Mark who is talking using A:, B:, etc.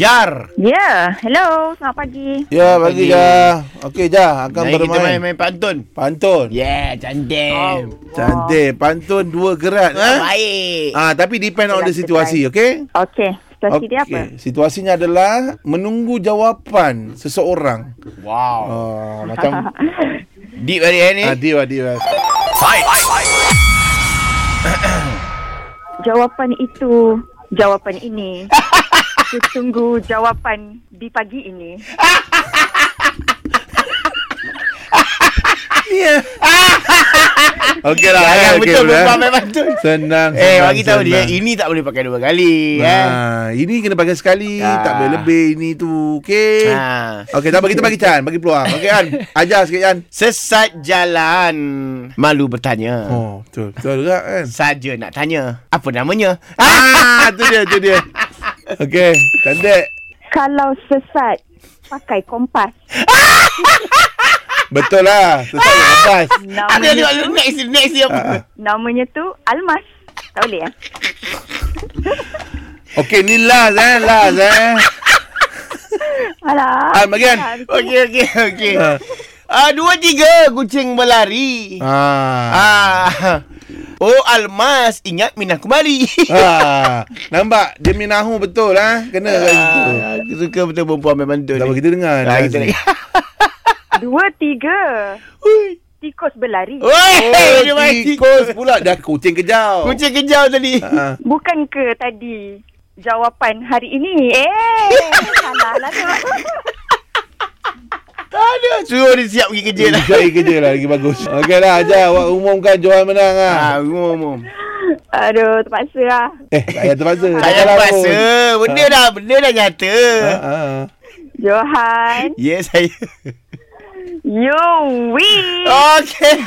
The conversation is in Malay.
A: Ajar.
B: Ya, yeah. hello. Selamat pagi.
C: Ya, bagi
A: Pagi.
C: Jah. Okey Jah, akan
A: Hari kita main
C: bermain.
A: main pantun.
C: Pantun.
A: Yeah, cantik. Oh.
C: Cantik. Pantun dua gerak.
A: Eh?
C: Ha?
A: Baik.
C: Ah, tapi depend on the situasi, okey?
B: Okey, situasi dia apa?
C: Okey. Situasinya adalah menunggu jawapan seseorang.
A: Wow.
C: Ah, macam
A: Deep eh hari ini.
C: ah, dia dia.
B: Jawapan itu, jawapan ini. Aku tunggu jawapan di pagi ini.
C: Okey lah.
A: Jangan
C: eh, okey,
A: betul
C: boleh,
A: betul
C: eh.
A: main pantun.
C: Senang.
A: Eh,
C: senang,
A: bagi tahu dia
C: senang.
A: ini tak boleh pakai dua kali, eh.
C: Ha, ini kena pakai sekali,
A: Ah.
C: tak boleh lebih ini tu. Okey.
A: Ha.
C: Okey, tak bagi kita bagi Chan, bagi peluang. Okey An, ajar sikit An.
A: Sesat jalan malu bertanya.
C: Oh, betul. Betul juga kan?
A: Saja nak tanya, apa namanya?
C: Ah, tu dia, tu dia. Okey, cantik.
B: Kalau sesat, pakai kompas.
C: Betul lah. Sesat yang lepas.
A: Ada
B: Namanya,
A: ada ada next next
C: Ah,
A: apa?
B: namanya tu Almas. Tak boleh eh?
C: Okey, ni last eh, last eh. Ah,
B: Alah.
C: An, bagi An.
A: Okey okey okey. Ah dua tiga kucing berlari.
C: Ah.
A: Ah. Oh Almas ingat minah kemari.
C: ah. Nampak dia punya nahu betul ah. Kena kat situ.
A: Ah, aku suka betul perempuan memang tu.
C: Tak apa kita dengar.
A: Ah, kita
C: Nazri.
A: lagi.
B: Dua, tiga.
A: Ui.
B: Tikus berlari.
A: Oi,
C: Oh,
A: dia main
C: tikus pula dah kucing kejau.
A: Kucing kejau tadi.
C: Ah.
B: Bukan ke tadi jawapan hari ini? Eh, salah lah tu.
A: Tak ada. Suruh dia siap pergi kerja lah.
C: Cari kerja lah lagi bagus. Okey lah ajar awak umumkan Johan menang ah.
A: Ah, umum-umum.
B: Aduh, terpaksa lah.
C: Eh, tak payah terpaksa.
A: Tak payah terpaksa. Benda dah, benda dah nyata.
C: Ah, ah.
B: Johan,
A: Ya, saya. Oh,
B: you win.
A: Okey.